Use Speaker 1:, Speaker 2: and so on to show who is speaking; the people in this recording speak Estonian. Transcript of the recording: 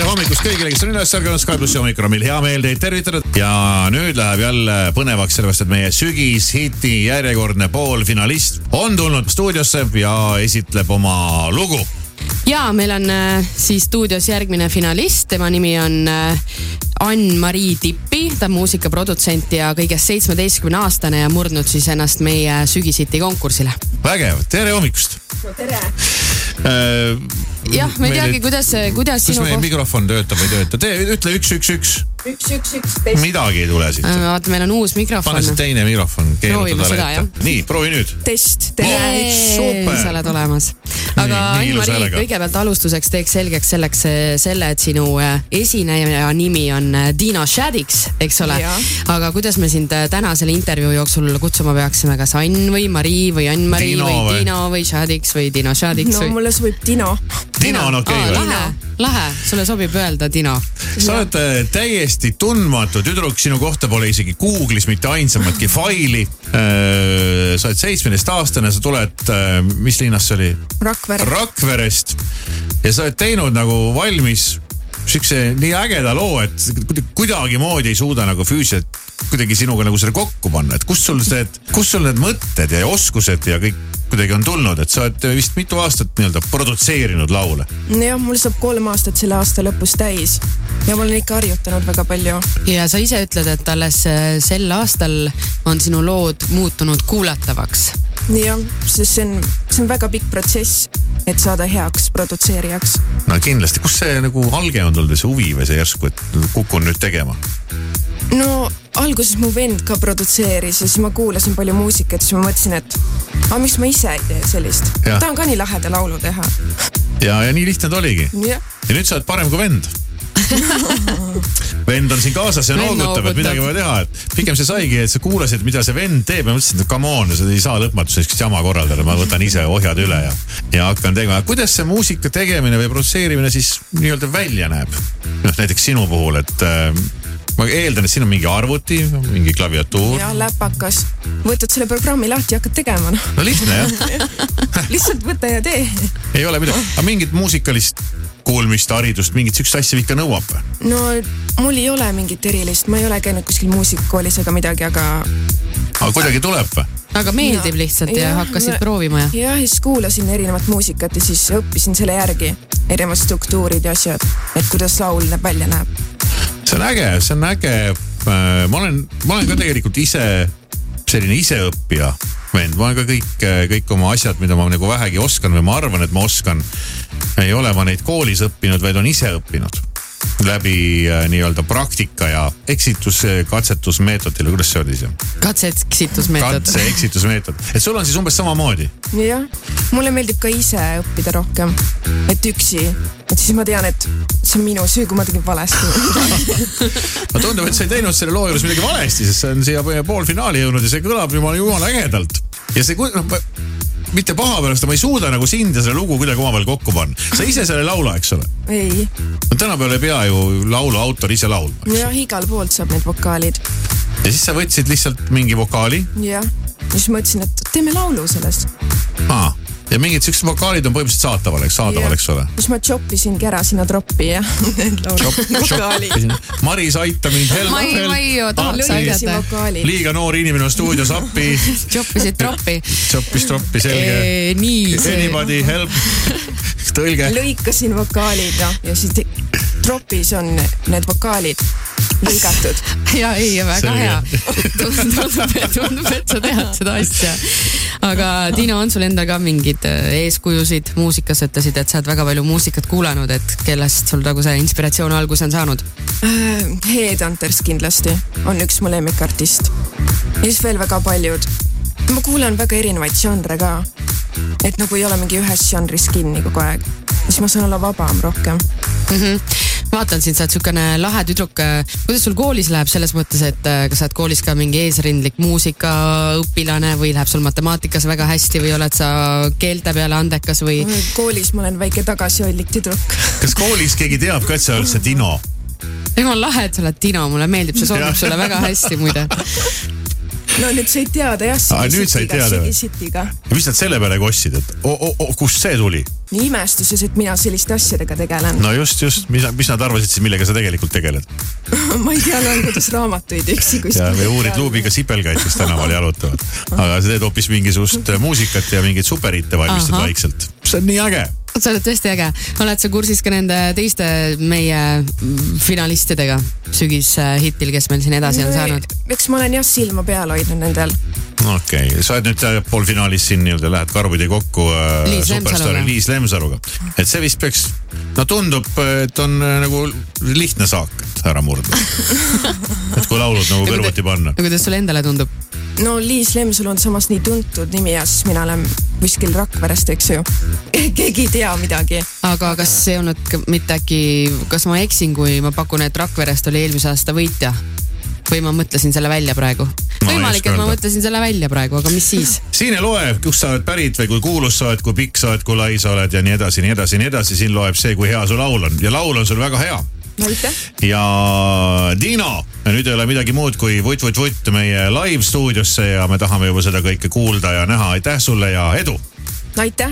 Speaker 1: hommikust kõigile, kes on üles ärganud, Skype pluss ja hommikul on meil hea meel teid tervitada. ja nüüd läheb jälle põnevaks, sellepärast et meie sügishiti järjekordne poolfinalist on tulnud stuudiosse ja esitleb oma lugu.
Speaker 2: ja meil on äh, siis stuudios järgmine finalist , tema nimi on äh, Ann-Marii Tippi , ta on muusikaprodutsent ja kõigest seitsmeteistkümne aastane ja murdnud siis ennast meie sügisiti konkursile .
Speaker 1: vägev , tere hommikust . Äh, tere .
Speaker 2: jah , ma ei teagi ,. kuidas , kuidas
Speaker 1: kas
Speaker 2: sinu
Speaker 1: meie
Speaker 2: koht-
Speaker 1: mikrofon töötab või ei tööta , tee , ütle üks , üks , üks ,
Speaker 3: üks , üks , üks , teist ,
Speaker 1: midagi ei tule siit .
Speaker 2: Äh, vaata , meil on uus
Speaker 1: pane
Speaker 2: mikrofon .
Speaker 1: see teine mikrofon , keeruta
Speaker 2: Proovime
Speaker 1: talle
Speaker 2: seda,
Speaker 1: ette . nii , proovi nüüd .
Speaker 3: test ,
Speaker 1: Jee!
Speaker 3: tere .
Speaker 1: super.
Speaker 2: sa oled olemas . aga
Speaker 1: Nii, nii ilus
Speaker 2: Ann-Mari ,
Speaker 1: häälega.
Speaker 2: kõigepealt alustuseks teeks selgeks selleks eh, selle , et sinu eh, esineja nimi on eh, Dino Shadiks , eks ole
Speaker 3: Jaa. .
Speaker 2: aga kuidas me sind eh, täna selle intervjuu jooksul kutsuma peaksime , kas Ann või Mari või Ann-Mari
Speaker 1: Dino
Speaker 2: või
Speaker 1: või?
Speaker 2: Dino või Shadiks või Dino Shadiks
Speaker 3: no
Speaker 2: või ?
Speaker 3: mulle sobib Dino .
Speaker 1: Dino on okei okay, või ?
Speaker 2: lahe , lahe , sulle sobib öelda Dino .
Speaker 1: sa oled äh, täiesti tundmatu tüdruk , sinu kohta pole isegi Google'is mitte ainsamatki faili . sa oled seitsmeteistaastane , sa tuled , mis linnas see oli ?
Speaker 3: Rakvere .
Speaker 1: Rakverest ja sa oled teinud nagu valmis siukse nii ägeda loo , et kuid- kuidagimoodi ei suuda nagu füüsiliselt kuidagi sinuga nagu selle kokku panna , et kust sul see , kust sul need mõtted ja oskused ja kõik kuidagi on tulnud , et sa oled vist mitu aastat nii-öelda produtseerinud laule .
Speaker 3: jah , mul saab kolm aastat selle aasta lõpus täis ja ma olen ikka harjutanud väga palju .
Speaker 2: ja sa ise ütled , et alles eh, sel aastal on sinu lood muutunud kuulatavaks
Speaker 3: jah , sest see on , see on väga pikk protsess , et saada heaks produtseerijaks .
Speaker 1: no kindlasti , kust see nagu alge on tulnud , see huvi või see järsku , et kukun nüüd tegema ?
Speaker 3: no alguses mu vend ka produtseeris ja siis ma kuulasin palju muusikat , siis ma mõtlesin , et aga miks ma ise ei tee sellist .
Speaker 1: Jah.
Speaker 3: tahan ka nii laheda laulu teha .
Speaker 1: ja , ja nii lihtne ta oligi .
Speaker 3: jah ,
Speaker 1: ja nüüd sa oled parem kui vend . vend on siin kaasas ja
Speaker 2: Vend
Speaker 1: noogutab , et
Speaker 2: noogutab.
Speaker 1: midagi pole teha , et pigem see saigi , et sa kuulasid , mida see vend teeb ja mõtlesid , et come on , sa ei saa lõpmatuseks sellist jama korraldada , ma võtan ise ohjad üle ja , ja hakkan tegema . kuidas see muusika tegemine või produtseerimine siis nii-öelda välja näeb ? noh , näiteks sinu puhul , et äh, ma eeldan , et siin on mingi arvuti , mingi klaviatuur .
Speaker 3: ja läpakas . võtad selle programmi lahti ja hakkad tegema , noh .
Speaker 1: no lihtne jah ,
Speaker 3: lihtsalt võta ja tee
Speaker 1: ei ole midagi , aga mingit muusikalist kuulmist , haridust , mingit sihukest asja ikka nõuab või ?
Speaker 3: no mul ei ole mingit erilist , ma ei ole käinud kuskil muusikakoolis ega midagi , aga
Speaker 1: aga kuidagi tuleb või ?
Speaker 2: aga meeldib
Speaker 3: No,
Speaker 2: lihtsalt ja, ja
Speaker 3: jah,
Speaker 2: hakkasid
Speaker 3: no-
Speaker 2: proovima ja
Speaker 3: jah , siis kuulasin erinevat muusikat ja siis õppisin selle järgi erinevad struktuurid ja asjad , et kuidas laul näeb välja näeb .
Speaker 1: see on äge , see on äge . ma olen , ma olen ka tegelikult ise selline iseõppija vend , ma olen ka kõik , kõik oma asjad , mida ma nagu vähegi oskan või ma arvan , et ma oskan . ei ole ma neid koolis õppinud , vaid on ise õppinud läbi äh, nii-öelda praktika ja eksituse katsetusmeetodil , kuidas see oli see ?
Speaker 2: katseksitusmeetod .
Speaker 1: katse-eksitusmeetod , et sul on siis umbes samamoodi .
Speaker 3: jah , mulle meeldib ka ise õppida rohkem , et üksi , et siis ma tean , et see on minu süü , kui ma tegin valesti .
Speaker 1: aga tundub , et sa ei teinud selle loo juures midagi valesti , sest see on siia meie poolfinaali jõudnud ja see kõlab jumala , jumala ägedalt . ja see , noh , ma mitte paha pärast , ma ei suuda nagu sind ja selle lugu kuidagi omavahel kokku panna . sa ise selle ei laula , eks ole ?
Speaker 3: ei ,
Speaker 1: no tänapäeval ei pea ju laulu autor ise laulma .
Speaker 3: jah , igal poolt saab need vokaalid ,
Speaker 1: ja siis sa võtsid lihtsalt mingi vokaali .
Speaker 3: jah . ja siis mõtlesin , et teeme laulu sellest .
Speaker 1: ja mingid siuksed vokaalid on põhimõtteliselt saataval , eks , saadaval , eks ole .
Speaker 3: siis ma choppisingi ära sinna troppi ja vokaali .
Speaker 1: Maris , aita mind .
Speaker 2: Ma ei- ma ei tahaks aidata.
Speaker 3: lõikasin vokaali .
Speaker 1: liiga noor inimene on stuudios appi ,
Speaker 2: joppisid troppi .
Speaker 1: tšoppis troppi , selge
Speaker 2: nii see .
Speaker 1: Anybody help , tõlge .
Speaker 3: lõikasin vokaalid ja , ja siis te- tropis on need vokaalid lõigatud .
Speaker 2: ja ei , väga
Speaker 1: Selge.
Speaker 2: hea . tundub , tundub , et sa tead seda asja . aga Tiina , on sul endal ka mingeid äh, eeskujusid muusikas , ütlesid , et sa oled väga palju muusikat kuulanud , et kellest sul nagu see inspiratsioon alguse on saanud ?
Speaker 3: Headhunters Äh, kindlasti on üks mu lemmikartist . ja siis veel väga paljud . ma kuulan väga erinevaid žanre ka . et nagu ei ole mingi ühes žanris kinni kogu aeg . siis ma saan olla vabam rohkem .
Speaker 2: Mhm. vaatan sind , sa oled siukene lahe tüdruk . kuidas sul koolis läheb selles mõttes , et äh, kas sa oled koolis ka mingi eesrindlik muusikaõpilane või läheb sul matemaatikas väga hästi või oled sa keelte peale andekas või ?
Speaker 3: koolis ma olen väike tagasihoidlik tüdruk .
Speaker 1: kas koolis keegi teab ka , et sa oled see Dino ?
Speaker 2: jumal lahe , et sa oled Dino , mulle meeldib , see
Speaker 1: Jah.
Speaker 2: sobib sulle väga hästi muide .
Speaker 3: no nüüd said teada jah .
Speaker 1: Aa, nüüd said teada või?
Speaker 3: Sigi City'ga .
Speaker 1: mis nad selle peale kossid , et o- o- o- kust see tuli ?
Speaker 3: nii imestuses , et mina selliste asjadega tegelen no. .
Speaker 1: no just , just , mis , mis nad arvasid siis , millega sa tegelikult tegeled
Speaker 3: ma ei tea , loen kuidas raamatuid üksi
Speaker 1: ja
Speaker 3: kuskil .
Speaker 1: või uurid luubiga sipelgaid , kes tänaval jalutavad . aga sa teed hoopis mingisugust muusikat ja mingeid superiite valmistad
Speaker 2: Ahah.
Speaker 1: vaikselt . see on nii äge .
Speaker 2: sa oled tõesti äge , oled sa kursis ka nende teiste meie mm, finalistidega sügishitil , kes meil siin edasi on saanud ?
Speaker 3: eks ma olen jah silma peal hoidnud nendel .
Speaker 1: okei okay. , sa oled nüüd äh, poolfinaalis siin nii-öelda , lähed karvide kokku äh,
Speaker 2: Liis
Speaker 1: superstaari
Speaker 2: Lemsaluga.
Speaker 1: Liis Lemsaluga . et see vist peaks , no tundub , et on äh, nagu lihtne saak et ära murda . et kui laulud nagu kõrvuti panna .
Speaker 2: kuidas sulle endale tundub ?
Speaker 3: no Liis Lemsalu on samas nii tuntud nimi ja siis mina olen kuskil Rakverest , eks ju . keegi ei tea midagi .
Speaker 2: aga kas ei olnud ka- mitte äkki , kas ma eksin , kui ma pakun , et Rakverest oli eelmise aasta võitja ? või ma mõtlesin selle välja praegu ?
Speaker 1: ei
Speaker 2: võimalik ,
Speaker 1: oska
Speaker 2: et ma
Speaker 1: öelda.
Speaker 2: mõtlesin selle välja praegu , aga mis siis ?
Speaker 1: siin ei loe , kust sa oled pärit või kui kuulus sa oled , kui pikk sa oled , kui lai sa oled ja nii edasi , nii edasi , nii edasi , siin loeb see , kui hea su laul on ja laul on sul väga hea
Speaker 3: aitäh .
Speaker 1: ja Dino , nüüd ei ole midagi muud kui vutt-vutt-vutt meie live stuudiosse ja me tahame juba seda kõike kuulda ja näha . aitäh sulle ja edu .
Speaker 3: aitäh ,